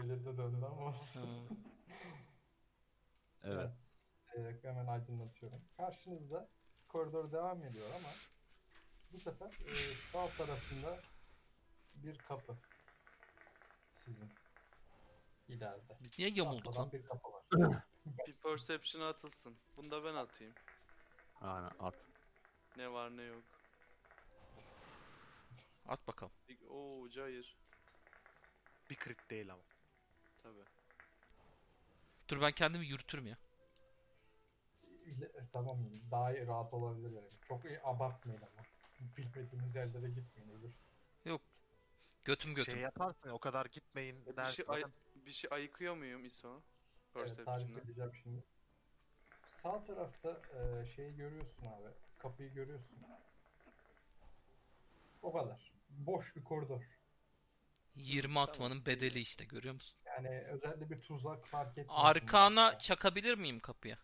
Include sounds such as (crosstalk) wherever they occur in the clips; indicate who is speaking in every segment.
Speaker 1: Başa döndü ama olsun.
Speaker 2: Evet.
Speaker 1: (laughs) Evet, e, hemen aydınlatıyorum. Karşınızda koridor devam ediyor ama bu sefer e, sağ tarafında bir kapı sizin ileride.
Speaker 3: Biz niye yamulduk
Speaker 1: Atlanan
Speaker 3: lan?
Speaker 1: bir kapı var.
Speaker 4: Bir perception atılsın. Bunu da ben atayım.
Speaker 2: Aynen at.
Speaker 4: Ne var ne yok.
Speaker 3: At bakalım.
Speaker 4: Bir- Oo cayır.
Speaker 5: Bir crit değil ama.
Speaker 4: Tabi.
Speaker 3: Dur ben kendimi yürütürüm ya.
Speaker 1: İle- e, tamam daha iyi, rahat olabilir yani. Çok iyi abartmayın ama. Bilmediğiniz yerlere gitmeyin olur.
Speaker 3: Götüm götüm.
Speaker 5: Şey yaparsın ya, o kadar gitmeyin
Speaker 4: Bir
Speaker 5: dersin.
Speaker 4: şey, ay- bir şey ayıkıyor muyum ISO?
Speaker 1: Evet, tarif
Speaker 4: Perception'ı.
Speaker 1: edeceğim şimdi. Sağ tarafta e, şeyi görüyorsun abi. Kapıyı görüyorsun. O kadar. Boş bir koridor.
Speaker 3: 20 atmanın bedeli işte görüyor musun?
Speaker 1: Yani özellikle bir tuzak fark etmiyor.
Speaker 3: Arkana çakabilir miyim kapıya?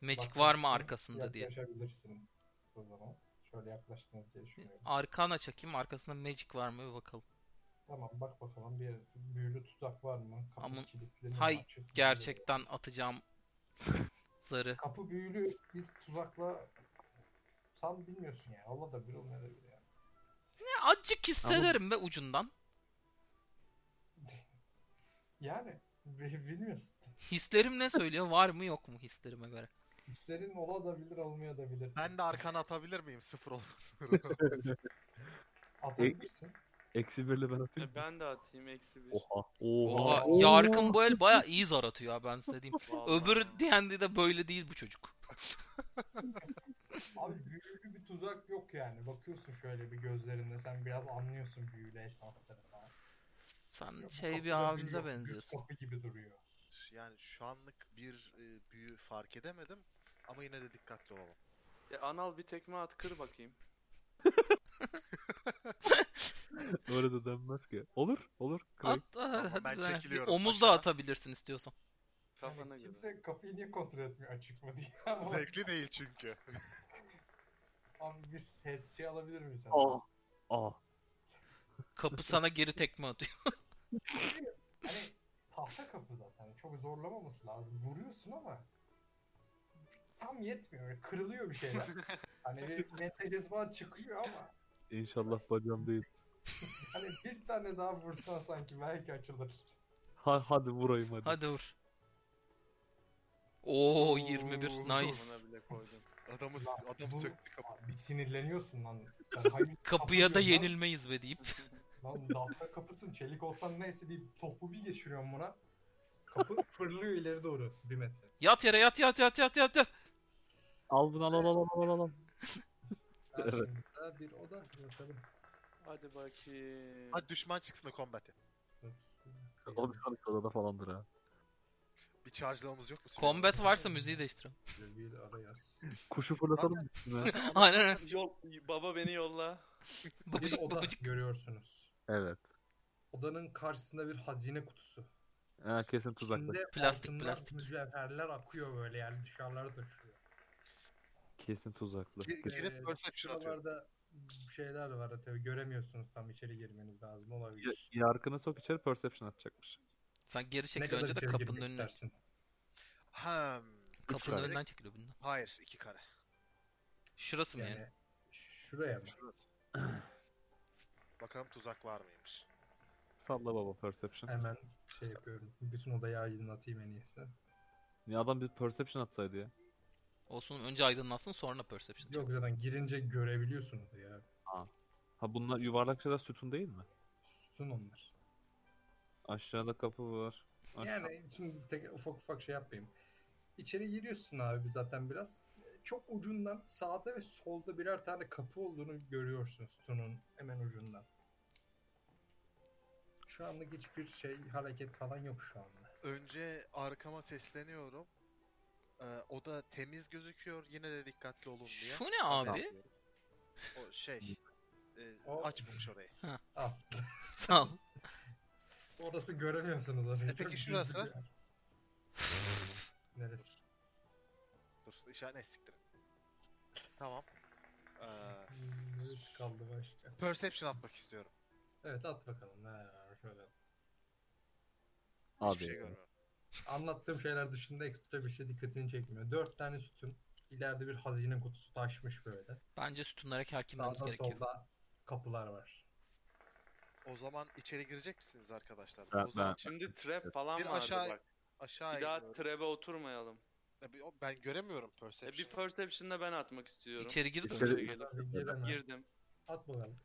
Speaker 3: Magic
Speaker 1: Bakmak
Speaker 3: var
Speaker 1: için
Speaker 3: mı arkasında diye.
Speaker 1: Yaklaşabilirsiniz o zaman. Şöyle yaklaştınız diye düşünüyorum.
Speaker 3: E, Arkana çakayım arkasında magic var mı bir bakalım.
Speaker 1: Tamam bak bakalım bir büyülü tuzak var mı? Kapı
Speaker 3: Aman-
Speaker 1: kilitli mi?
Speaker 3: Hay,
Speaker 1: Açık mı?
Speaker 3: Gerçekten atacağım (laughs) zarı.
Speaker 1: Kapı büyülü bir tuzakla sen bilmiyorsun yani. Allah da bir olmaya da yani.
Speaker 3: Ne E, acık hissederim be ucundan.
Speaker 1: Yani (laughs) bi- bilmiyorsun.
Speaker 3: Hislerim ne söylüyor? Var mı yok mu hislerime göre?
Speaker 1: İşlerin ola da bilir olmaya da bilir.
Speaker 5: Ben de arkana atabilir miyim sıfır olmasın?
Speaker 1: Atabilirsin.
Speaker 2: Eksi birle ben atayım.
Speaker 4: E, ben de atayım eksi bir.
Speaker 1: Oh.
Speaker 2: Oha.
Speaker 3: Oha, Yarkın bu el baya iyi zar atıyor ha ben size diyeyim.
Speaker 4: (laughs) Vallahi.
Speaker 3: Öbürü D&D'de böyle değil bu çocuk.
Speaker 1: Abi büyülü bir tuzak yok yani. Bakıyorsun şöyle bir gözlerinde. Sen biraz anlıyorsun büyülü esansları falan.
Speaker 3: Sen
Speaker 1: Bu
Speaker 3: şey bir
Speaker 1: kapıda büyü
Speaker 3: abimize
Speaker 1: yok, düz
Speaker 3: benziyorsun.
Speaker 1: Kapı gibi duruyor.
Speaker 5: yani şu anlık bir e, büyü fark edemedim. Ama yine de dikkatli olalım.
Speaker 4: E, anal bir tekme at kır bakayım.
Speaker 2: Orada denmez ki. Olur. Olur. Kırayım.
Speaker 3: At, hadi, hadi
Speaker 5: ben
Speaker 3: be.
Speaker 5: çekiliyorum
Speaker 3: Omuz da
Speaker 5: aşağı.
Speaker 3: atabilirsin istiyorsan.
Speaker 4: Kafana
Speaker 1: Yani
Speaker 4: göre.
Speaker 1: kimse kapıyı niye kontrol etmiyor açık mı diye. (laughs) Ama
Speaker 5: Zevkli değil çünkü.
Speaker 1: Abi bir set şey alabilir miyiz? sen?
Speaker 4: Oh.
Speaker 2: Aa. Aa.
Speaker 3: Kapı sana geri tekme atıyor.
Speaker 1: (laughs) Hani tahta kapı zaten. Çok zorlamaması lazım. Vuruyorsun ama tam yetmiyor. Böyle Kırılıyor bir şeyler. hani bir metalizman çıkıyor ama
Speaker 2: İnşallah bacağım değil.
Speaker 1: hani bir tane daha vursan sanki belki açılır.
Speaker 2: Ha, hadi vurayım hadi.
Speaker 3: Hadi vur. Oo 21 nice.
Speaker 4: Ona bile koydum.
Speaker 5: Adamı,
Speaker 1: Lan
Speaker 5: adamı
Speaker 1: bu-
Speaker 5: söktü kapı.
Speaker 1: Abi Bir sinirleniyorsun lan. Sen hayır,
Speaker 3: Kapıya da
Speaker 1: kapı diyorsun
Speaker 3: yenilmeyiz be deyip.
Speaker 1: Lan, lan tahta kapısın çelik olsan neyse deyip topu bir geçiriyorum buna. Kapı fırlıyor ileri doğru bir metre.
Speaker 3: Yat yere yat yat yat yat yat yat.
Speaker 2: Al bunu al al al al al al. Evet.
Speaker 1: Karşımızda bir oda bakalım.
Speaker 4: Hadi bakayım.
Speaker 5: Hadi düşman çıksın da kombate.
Speaker 2: O bir sonraki odada falandır ha.
Speaker 5: Bir charge'lamamız yok mu?
Speaker 1: Şey,
Speaker 3: Combat varsa müziği değiştirelim. (laughs)
Speaker 1: Bir ara yaz.
Speaker 2: Kuşu fırlatalım mı üstüne.
Speaker 3: Aynen aynen.
Speaker 4: Yol, baba beni yolla.
Speaker 1: Bir
Speaker 3: Bıkıcık
Speaker 1: oda
Speaker 3: bıkıcık.
Speaker 1: görüyorsunuz.
Speaker 2: evet.
Speaker 1: Odanın karşısında bir hazine kutusu.
Speaker 2: Ha, kesin tuzaklı.
Speaker 1: İçinde
Speaker 3: Plastik,
Speaker 1: altınlar,
Speaker 3: plastik.
Speaker 1: mücevherler akıyor böyle yani dışarılara taşıyor.
Speaker 2: Kesin tuzaklı.
Speaker 5: Gi-
Speaker 2: Kesin-
Speaker 5: Girip perception atıyor.
Speaker 1: Şuralarda şeyler var tabii göremiyorsunuz tam içeri girmeniz lazım
Speaker 2: Ya-
Speaker 1: olabilir.
Speaker 2: Yarkını sok içeri perception atacakmış.
Speaker 3: Sen geri
Speaker 1: Ne
Speaker 3: çekil
Speaker 1: kadar
Speaker 3: önce de
Speaker 1: içeri
Speaker 3: kapının
Speaker 1: girmek
Speaker 3: önüne.
Speaker 1: istersin?
Speaker 5: Hmm.
Speaker 3: Kapının
Speaker 2: kare.
Speaker 3: önünden çekiliyor bundan.
Speaker 5: Hayır iki kare.
Speaker 3: Şurası mı yani?
Speaker 1: Yani şuraya mı?
Speaker 3: (clears throat)
Speaker 5: Şurası. Bakalım tuzak var mıymış?
Speaker 2: Salla baba perception.
Speaker 1: Hemen şey yapıyorum. Bütün odayı aydınlatayım en iyisi.
Speaker 2: Ya adam bir perception atsaydı ya.
Speaker 3: Olsun önce aydınlatsın sonra perception.
Speaker 1: Yok
Speaker 3: çeksin.
Speaker 1: zaten girince görebiliyorsunuz ya.
Speaker 2: Ha bunlar yuvarlak şeyler sütun değil mi?
Speaker 1: Sütun onlar.
Speaker 2: Aşağıda kapı var. Aşağı-
Speaker 1: Yani şimdi tek, ufak ufak şey yapmayayım. İçeri giriyorsun abi zaten biraz. Çok ucundan sağda ve solda birer tane kapı olduğunu görüyorsun sütunun hemen ucundan. Şu anlık hiçbir şey hareket falan yok şu anda.
Speaker 5: Önce arkama sesleniyorum. Ee, o da temiz gözüküyor. Yine de dikkatli olun diye.
Speaker 3: Şu ne abi?
Speaker 5: Tamam. O şey. e,
Speaker 1: O-
Speaker 5: açmamış orayı.
Speaker 1: Al.
Speaker 3: (laughs) Sağ ol.
Speaker 1: Ah, Orası göremiyorsunuz orayı.
Speaker 5: E peki şurası?
Speaker 1: Neresi?
Speaker 5: Dur işaret ne siktir. Tamam. Ee,
Speaker 1: Zırh kaldı başka.
Speaker 5: perception atmak istiyorum.
Speaker 1: Evet at bakalım. Ha, şöyle.
Speaker 5: Hiçbir
Speaker 2: Abi.
Speaker 5: şey görmüyorum.
Speaker 1: Anlattığım şeyler dışında ekstra bir şey dikkatini çekmiyor. Dört tane sütun. ileride bir hazine kutusu taşmış böyle.
Speaker 3: Bence sütunlara hakimlememiz
Speaker 1: Sağda
Speaker 3: gerekiyor.
Speaker 1: solda kapılar var.
Speaker 5: O zaman içeri girecek misiniz arkadaşlar?
Speaker 2: Ben-
Speaker 5: o zaman
Speaker 2: ben-
Speaker 4: Şimdi trap falan
Speaker 5: Bir
Speaker 4: vardı
Speaker 5: aşağı-
Speaker 4: bak.
Speaker 5: aşağı
Speaker 4: bir daha
Speaker 5: iniyorum.
Speaker 4: trap'e oturmayalım.
Speaker 5: Ya bir- Ben göremiyorum
Speaker 4: E,
Speaker 5: Perception.
Speaker 4: bir perception'la ben atmak istiyorum.
Speaker 3: İçeri gir de
Speaker 2: İçeri-
Speaker 3: önce.
Speaker 4: Girdim.
Speaker 1: Tabii giremem.
Speaker 4: Girdim.
Speaker 1: At bakalım.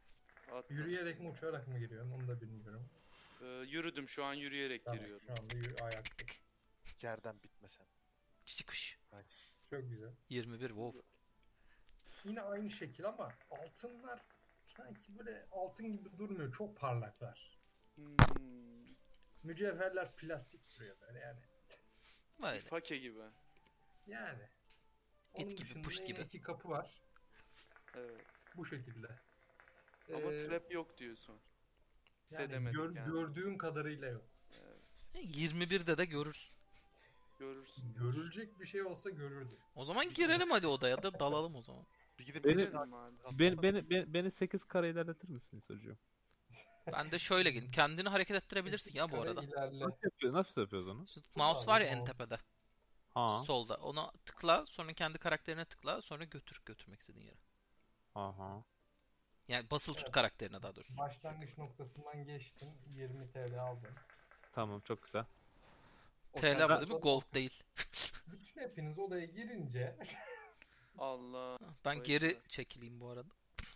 Speaker 4: Attım.
Speaker 1: Yürüyerek mi uçarak mı giriyorsun onu da bilmiyorum.
Speaker 4: Ee, yürüdüm şu an yürüyerek
Speaker 1: Tamam,
Speaker 4: giriyorum.
Speaker 1: şu anda yürü, ayakta.
Speaker 5: Yerden bitmesen.
Speaker 3: Çıkış.
Speaker 5: Nice.
Speaker 1: Çok güzel.
Speaker 3: 21 wow.
Speaker 1: Yine aynı şekil ama altınlar sanki böyle altın gibi durmuyor. Çok parlaklar.
Speaker 4: Hmm,
Speaker 1: Mücevherler plastik duruyor böyle yani.
Speaker 3: Böyle.
Speaker 4: Fake gibi.
Speaker 1: Yani.
Speaker 3: Et
Speaker 1: Onun
Speaker 3: gibi,
Speaker 1: dışında
Speaker 3: puşt
Speaker 1: yine
Speaker 3: gibi.
Speaker 1: iki kapı var.
Speaker 4: Evet.
Speaker 1: Bu şekilde.
Speaker 4: Ama
Speaker 1: Ee,
Speaker 4: trap yok diyorsun.
Speaker 1: yani
Speaker 4: hissedemedik
Speaker 1: gör-
Speaker 4: yani.
Speaker 1: Gördüğüm kadarıyla yok.
Speaker 4: Evet,
Speaker 3: 21'de de görürsün.
Speaker 4: Görürsün.
Speaker 1: Görülecek bir şey olsa görürdük.
Speaker 3: O zaman girelim hadi odaya da dalalım o zaman.
Speaker 5: Bir gidip
Speaker 2: Beni-
Speaker 5: içeri
Speaker 4: Tamam abi.
Speaker 2: Beni, beni, beni, beni 8 kare ilerletir misiniz çocuğum?
Speaker 3: Ben de şöyle geleyim. Kendini hareket ettirebilirsin ya bu
Speaker 1: Kare
Speaker 3: arada.
Speaker 1: ilerle.
Speaker 2: Nasıl, yapıyor, nasıl yapıyoruz onu?
Speaker 3: Şu Mouse var ya en
Speaker 1: Mouse.
Speaker 3: tepede.
Speaker 2: Ha.
Speaker 3: Solda. Ona tıkla. Sonra kendi karakterine tıkla. Sonra götür götürmek istediğin yere.
Speaker 2: Aha.
Speaker 3: Yani basılı tut
Speaker 1: Evet.
Speaker 3: karakterine daha doğrusu.
Speaker 1: Başlangıç noktasından geçtim. 20 TL aldım.
Speaker 2: Tamam çok güzel.
Speaker 3: TL bu
Speaker 5: Otelden-
Speaker 3: değil mi? Gold değil.
Speaker 1: Bütün hepiniz odaya girince
Speaker 4: Allah.
Speaker 3: Ben
Speaker 4: Vay
Speaker 3: geri
Speaker 4: be.
Speaker 3: çekileyim bu arada.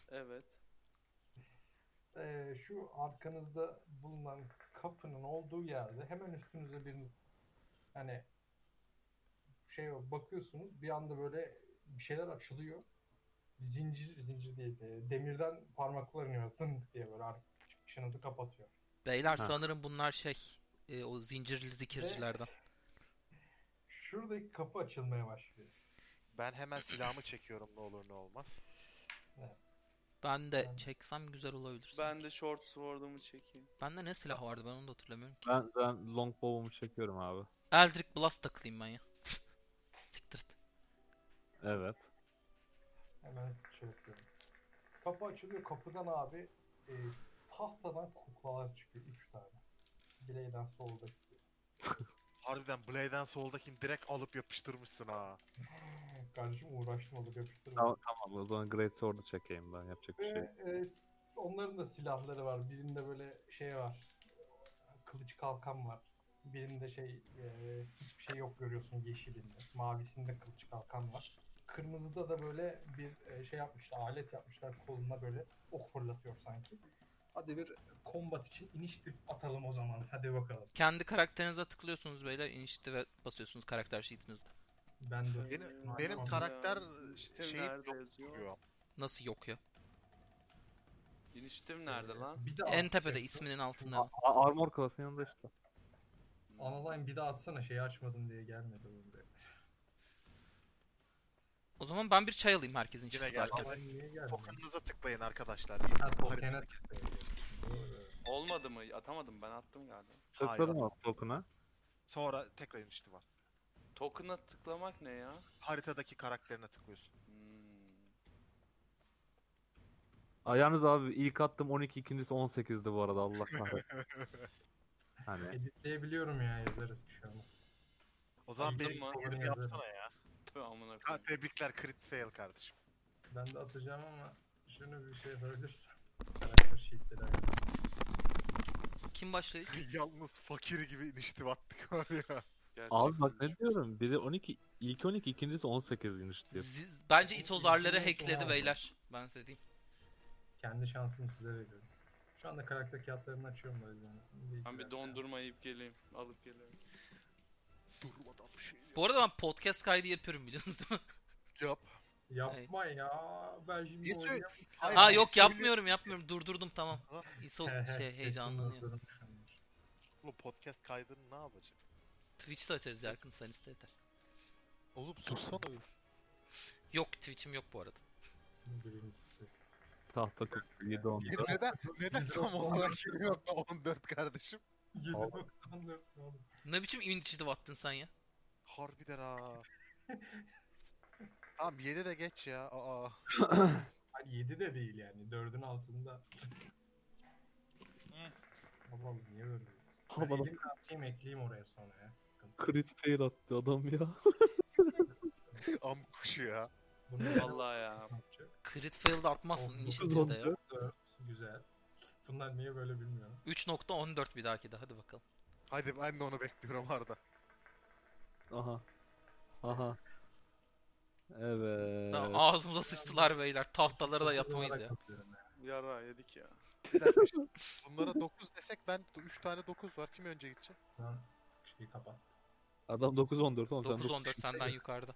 Speaker 4: Evet.
Speaker 1: eee, Ee, şu arkanızda bulunan kapının olduğu yerde hemen üstünüze biriniz hani şey o, bakıyorsunuz bir anda böyle bir şeyler açılıyor. Zincir, zincir değil. e, demirden parmaklar iniyor zınk diye böyle ar- çıkışınızı kapatıyor.
Speaker 3: Beyler
Speaker 2: Ha.
Speaker 3: sanırım bunlar şey e, o zincirli zikircilerden.
Speaker 1: Şuradaki kapı açılmaya başlıyor.
Speaker 5: Ben hemen silahımı çekiyorum ne olur ne olmaz.
Speaker 3: Ben de
Speaker 1: Ben-
Speaker 3: çeksem güzel olabilir.
Speaker 4: Ben
Speaker 3: sanki.
Speaker 4: de short sword'umu çekeyim.
Speaker 3: Bende ne silah vardı ben onu da hatırlamıyorum ki.
Speaker 2: Ben, ben longbow'umu çekiyorum abi.
Speaker 3: Eldritch Blast takılayım ben ya. (laughs) Siktir.
Speaker 2: Evet.
Speaker 1: Hemen şey yapıyorum. Kapı açılıyor. Kapıdan abi e, tahtadan kuklalar çıkıyor. Üç tane. Bileyden solda. (gasps)
Speaker 5: Harbiden Blade'den soldakini direkt alıp yapıştırmışsın ha.
Speaker 1: Kardeşim uğraştım alıp yapıştırdım.
Speaker 2: Tamam, tamam o zaman Great Sword'u çekeyim ben yapacak bir şey. yok.
Speaker 1: Ve, e, s- onların da silahları var. Birinde böyle şey var. Kılıç kalkan var. Birinde şey e, hiçbir şey yok görüyorsun yeşilinde. Mavisinde kılıç kalkan var. Kırmızıda da böyle bir e, şey yapmışlar, alet yapmışlar koluna böyle ok fırlatıyor sanki. Hadi bir kombat için iniştif atalım o zaman. Hadi bakalım.
Speaker 3: Kendi karakterinize tıklıyorsunuz beyler. Initiative basıyorsunuz karakter sheetinizde.
Speaker 1: Ben de
Speaker 5: Benim,
Speaker 1: Aynen.
Speaker 5: benim
Speaker 1: Aynen.
Speaker 5: karakter
Speaker 4: Initiative
Speaker 5: şeyim
Speaker 4: nerede
Speaker 5: yok
Speaker 4: yazıyor?
Speaker 5: duruyor.
Speaker 3: Nasıl yok ya?
Speaker 4: İniştim nerede lan?
Speaker 1: Bir de
Speaker 3: En
Speaker 1: at
Speaker 3: tepede
Speaker 1: şey.
Speaker 3: isminin altında.
Speaker 2: A- armor klasının yanında işte.
Speaker 1: Analine bir de atsana şeyi açmadım diye gelmedi bu buraya.
Speaker 3: O zaman ben bir çay alayım herkesin için.
Speaker 5: Yine
Speaker 3: tutarken.
Speaker 5: geldi.
Speaker 1: Analine niye gelmedi?
Speaker 5: Tokenınıza tıklayın arkadaşlar.
Speaker 1: Ha, tokene
Speaker 5: Harita-
Speaker 1: tıklayın.
Speaker 4: Olmadı mı? Atamadım ben attım galiba.
Speaker 5: Hayır.
Speaker 2: Tıkladın mı token'a?
Speaker 5: Sonra tekrar inişti var.
Speaker 4: Token'a tıklamak ne ya?
Speaker 5: Haritadaki karakterine tıklıyorsun.
Speaker 4: Hmm.
Speaker 2: Aa, Yalnız abi ilk attım 12, ikincisi 18'di bu arada Allah kahretsin. hani
Speaker 1: Editleyebiliyorum ya yazarız bir şey olmaz.
Speaker 5: O zaman
Speaker 1: Anladın
Speaker 5: benim
Speaker 4: mı?
Speaker 5: görevimi
Speaker 1: Anladım.
Speaker 5: yapsana ya.
Speaker 4: Tüh, amına
Speaker 5: Ha,
Speaker 4: koyayım.
Speaker 5: tebrikler crit fail kardeşim. (laughs)
Speaker 1: Ben de atacağım ama şunu bir şey yapabilirsem. Karakter sheetleri ayarlayayım.
Speaker 3: Kim başlıyor?
Speaker 5: Yalnız fakir gibi inişti attık (laughs) var ya.
Speaker 4: Gerçekten
Speaker 2: abi bak ne diyorum biri 12 ilk 12 ikincisi 18 inmiş diyor.
Speaker 3: Ziz- Bence itozarları
Speaker 1: İnitiative'i
Speaker 3: hackledi
Speaker 1: sonra-
Speaker 3: beyler. Ben size diyeyim.
Speaker 1: Kendi şansımı size veriyorum. Şu anda karakter kağıtlarını açıyorum böyle. Yani.
Speaker 4: Ben bir dondurma yiyip geleyim. Alıp geleyim.
Speaker 5: Durmadan bir şey
Speaker 3: Bu arada ben podcast kaydı yapıyorum biliyorsunuz değil mi?
Speaker 5: yap.
Speaker 1: Yapma ya. Ben şimdi
Speaker 5: Niye
Speaker 1: oynayamam.
Speaker 5: Hayır, şey
Speaker 3: Ha
Speaker 5: ben
Speaker 3: yok
Speaker 5: seviyorum.
Speaker 3: yapmıyorum yapmıyorum durdurdum
Speaker 5: (laughs)
Speaker 3: tamam.
Speaker 5: Ha,
Speaker 1: (laughs)
Speaker 3: İso
Speaker 1: He he,
Speaker 3: şey
Speaker 1: kesin
Speaker 3: heyecanlanıyor.
Speaker 1: dondurmuş onlar.
Speaker 5: Bu podcast kaydını ne yapacak?
Speaker 3: Twitch'te açarız yakın sen iste yeter.
Speaker 5: Oğlum sussana bir.
Speaker 3: Yok Twitch'im yok bu arada.
Speaker 1: Birincisi. (laughs)
Speaker 2: Tahta 47 onda.
Speaker 5: neden neden tam olarak giriyor da 14 kardeşim?
Speaker 1: Yedi
Speaker 2: Abi.
Speaker 1: bakan dört ne oldu?
Speaker 3: Ne biçim initiative attın sen ya?
Speaker 5: Harbiden ha. tamam 7 de geç ya. Aa.
Speaker 1: Hani yedi de değil yani. Dördün altında. Babam niye böyle? Ben
Speaker 2: Havada
Speaker 1: elimle atayım ekleyeyim oraya sonra ya. Sıkıntı. yok.
Speaker 2: crit fail attı adam ya.
Speaker 5: Am kuşu ya.
Speaker 1: Bunu
Speaker 4: Vallahi ya.
Speaker 1: yapacak.
Speaker 3: Crit fail'da atmazsın
Speaker 1: Olsun.
Speaker 3: initiative'de ya.
Speaker 1: 4 güzel. Bunlar niye böyle bilmiyorum.
Speaker 3: 3.14 bir dahaki de hadi bakalım.
Speaker 5: Hadi ben de onu bekliyorum Arda.
Speaker 2: Aha. Aha. Evet.
Speaker 3: Tamam, ağzımıza sıçtılar beyler. Tahtalara da yatmayız ya.
Speaker 1: Olarak atıyorum ya.
Speaker 4: Yara yedik ya.
Speaker 5: Bir dakika şimdi (laughs) Bunlara 9 desek ben 3 tane 9 var. Kim önce gidecek?
Speaker 1: Lan, Şeyi kapat.
Speaker 2: Adam 9-14 oğlum sen
Speaker 3: 9.14 senden yukarıda.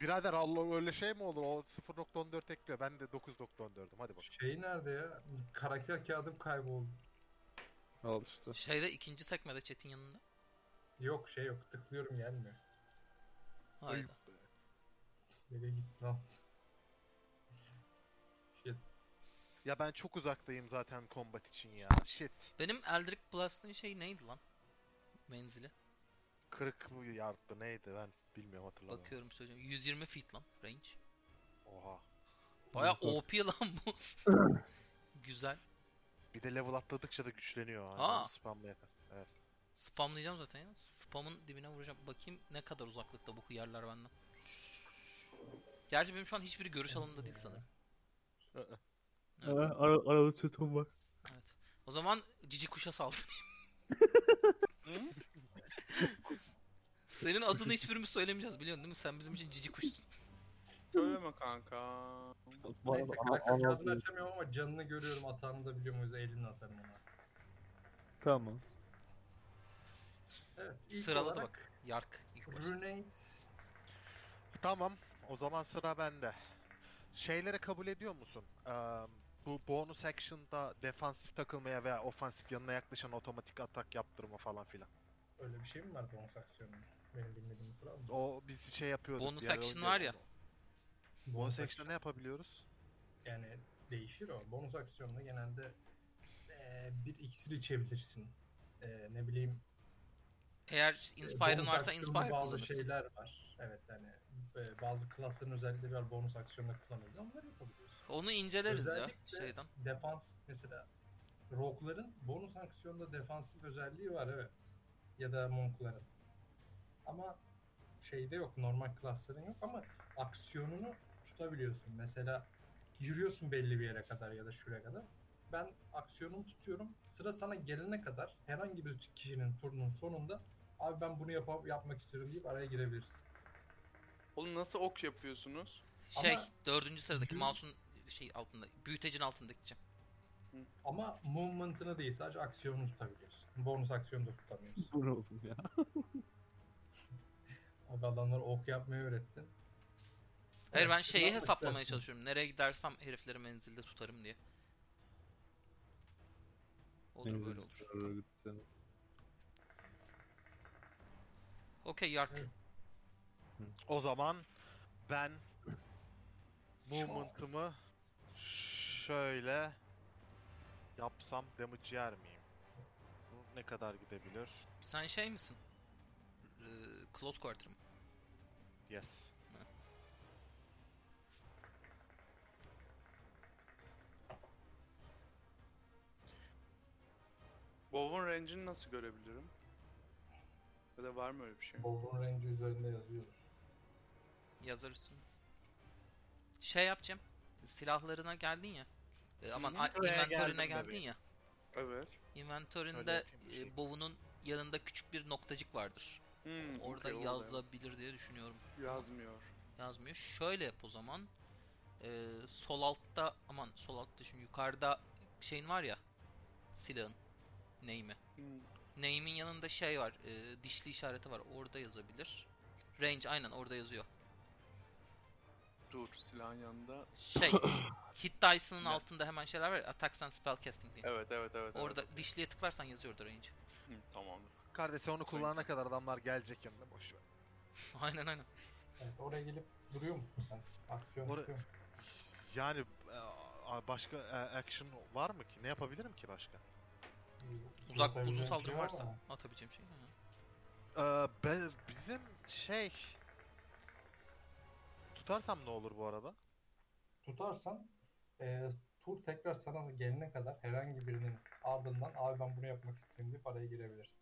Speaker 5: Birader Allah öyle şey mi olur? O 0.14 ekliyor. Ben de 9.14'üm. Hadi bak.
Speaker 1: Şey nerede ya? Karakter kağıdım kayboldu.
Speaker 2: Al işte.
Speaker 3: Şeyde ikinci sekmede chat'in yanında.
Speaker 1: Yok şey yok. Tıklıyorum gelmiyor.
Speaker 3: Hayda.
Speaker 5: Ayıp be.
Speaker 1: Nereye gitti lan? Şey, Shit.
Speaker 5: Ya ben çok uzaktayım zaten combat için ya. Shit.
Speaker 3: Benim Eldrick Blast'ın şey neydi lan? Menzili.
Speaker 5: 40 mı yardı neydi ben bilmiyorum hatırlamıyorum.
Speaker 3: Bakıyorum söyleyeceğim. 120 feet lan range.
Speaker 5: Oha.
Speaker 3: Baya
Speaker 2: Yok, yok.
Speaker 3: OP lan bu. Güzel.
Speaker 5: Bir de level atladıkça da güçleniyor. Hani
Speaker 3: Aa.
Speaker 5: onu spamlayarak. Evet.
Speaker 3: Spamlayacağım zaten ya. Spamın dibine vuracağım. Bakayım ne kadar uzaklıkta bu hıyarlar benden. Gerçi benim şu an hiçbiri görüş alanında değil sanırım.
Speaker 5: Hı
Speaker 3: Evet,
Speaker 2: aralı çetim var.
Speaker 3: evet. O zaman cici kuşa saldırayım. Senin adını hiçbirimiz söylemeyeceğiz biliyorsun değil mi? Sen bizim için cici kuşsun.
Speaker 4: Söyleme kanka.
Speaker 1: Neyse karakter kağıdını açamıyorum ama canını görüyorum. Atağını da biliyorum. O yüzden elimle atarım ona.
Speaker 2: Tamam.
Speaker 1: Evet. ilk
Speaker 3: Sıraladı
Speaker 1: olarak
Speaker 3: bak. Yark. ilk baş.
Speaker 1: Runate.
Speaker 5: Tamam. O zaman sıra bende. Şeyleri kabul ediyor musun? Eee, bu bonus action'da defansif takılmaya veya ofansif yanına yaklaşan otomatik atak yaptırma falan filan.
Speaker 1: Öyle bir şey mi var bonus aksiyonu? Benim bilmediğim bir kural mı?
Speaker 5: O biz şey yapıyorduk.
Speaker 3: Bonus
Speaker 5: diğer
Speaker 3: action
Speaker 5: oyunda
Speaker 3: var ya.
Speaker 5: Bonus action'da ne yapabiliyoruz?
Speaker 1: Yani değişir o. Bonus aksiyonunda genelde eee, bir iksir içebilirsin. Eee, ne bileyim
Speaker 3: Eğer inspire'ın
Speaker 1: Bonus
Speaker 3: varsa
Speaker 1: aksiyonda
Speaker 3: inspire
Speaker 1: bazı
Speaker 3: kullanırsın.
Speaker 1: şeyler var. Evet yani e, bazı klasların özellikle bir bonus aksiyonda kullanılıyor. Onları yapabiliyorsun.
Speaker 3: Onu inceleriz
Speaker 1: Özellikle-
Speaker 3: ya şeyden.
Speaker 1: Defans mesela rogue'ların bonus aksiyonda defansif özelliği var evet. Ya da monk'ların. Ama şeyde yok normal klasların yok ama aksiyonunu tutabiliyorsun. Mesela yürüyorsun belli bir yere kadar ya da şuraya kadar. Ben aksiyonumu tutuyorum. Sıra sana gelene kadar herhangi bir kişinin turunun sonunda abi ben bunu yapa- yapmak istiyorum deyip araya girebilirsin.
Speaker 4: Oğlum nasıl ok yapıyorsunuz?
Speaker 3: Şey
Speaker 1: Ama-
Speaker 3: dördüncü sıradaki
Speaker 1: Hı.
Speaker 3: mouse'un şey altında. Büyütecin altındaki cam.
Speaker 1: Ama movement'ını değil sadece aksiyonunu tutabiliyorsun. Bonus aksiyonu da tutamıyorsun.
Speaker 2: Bu ne oğlum ya?
Speaker 1: Abi adamlara ok yapmayı öğrettin.
Speaker 3: Hayır ben
Speaker 1: Evet,
Speaker 3: şeyi
Speaker 1: şundan da
Speaker 3: hesaplamaya
Speaker 1: istersin.
Speaker 3: çalışıyorum. Nereye gidersem herifleri menzilde tutarım diye. Olur böyle olur. Okey Yark.
Speaker 1: Evet.
Speaker 5: O zaman ben movement'ımı şöyle yapsam damage yer miyim? Bu ne kadar gidebilir?
Speaker 3: Sen şey misin? Ee, close quarter mı?
Speaker 5: Yes.
Speaker 4: Bow'un range'ini nasıl görebilirim? Ya da var mı öyle bir şey?
Speaker 1: Bowl'un range üzerinde yazıyor.
Speaker 3: Yazar üstüne. Şey yapacağım. Silahlarına geldin ya. Ee, aman a-
Speaker 5: Oraya
Speaker 3: inventörüne
Speaker 5: geldim
Speaker 3: geldin
Speaker 5: tabii.
Speaker 3: ya.
Speaker 4: Evet.
Speaker 5: Şöyle
Speaker 3: Inventöründe
Speaker 5: yapayım,
Speaker 3: e,
Speaker 5: şey.
Speaker 3: bovunun yanında küçük bir noktacık vardır.
Speaker 4: Hmm,
Speaker 3: Orada
Speaker 5: şey
Speaker 4: okey, orada.
Speaker 3: yazabilir diye düşünüyorum.
Speaker 4: Yazmıyor.
Speaker 3: yazmıyor. Şöyle yap o zaman. Ee, sol altta aman sol altta şimdi yukarıda şeyin var ya silahın name'i.
Speaker 4: Hmm.
Speaker 3: Name'in yanında şey var. e, dişli işareti var. Orada yazabilir. Range aynen orada yazıyor.
Speaker 4: Dur silahın yanında.
Speaker 3: Şey hit dice'ının
Speaker 4: Ne?
Speaker 3: altında hemen şeyler var ya. Attacks and spellcasting diye.
Speaker 4: Evet evet evet.
Speaker 3: Orada
Speaker 4: evet.
Speaker 3: dişliye tıklarsan yazıyor orada range. (laughs)
Speaker 4: Hı, tamamdır.
Speaker 5: Kardeşi onu kullanana kadar adamlar gelecek yanına boş ver.
Speaker 3: aynen aynen.
Speaker 1: Evet oraya gelip duruyor musun sen? Aksiyon
Speaker 5: Oraya-
Speaker 1: tutuyor musun?
Speaker 5: Yani e, a- başka e, action var mı ki? Ne yapabilirim ki başka?
Speaker 1: Bir-
Speaker 3: Uzak
Speaker 1: uzatabileceğin
Speaker 3: uzun
Speaker 1: bir şey
Speaker 3: saldırı
Speaker 1: var
Speaker 3: varsa
Speaker 1: mı?
Speaker 3: atabileceğim şey. Hı.
Speaker 5: Ee, be- bizim şey tutarsam ne olur bu arada?
Speaker 1: Tutarsan e, tur tekrar sana gelene kadar herhangi birinin ardından abi ben bunu yapmak istiyorum deyip araya girebilirsin.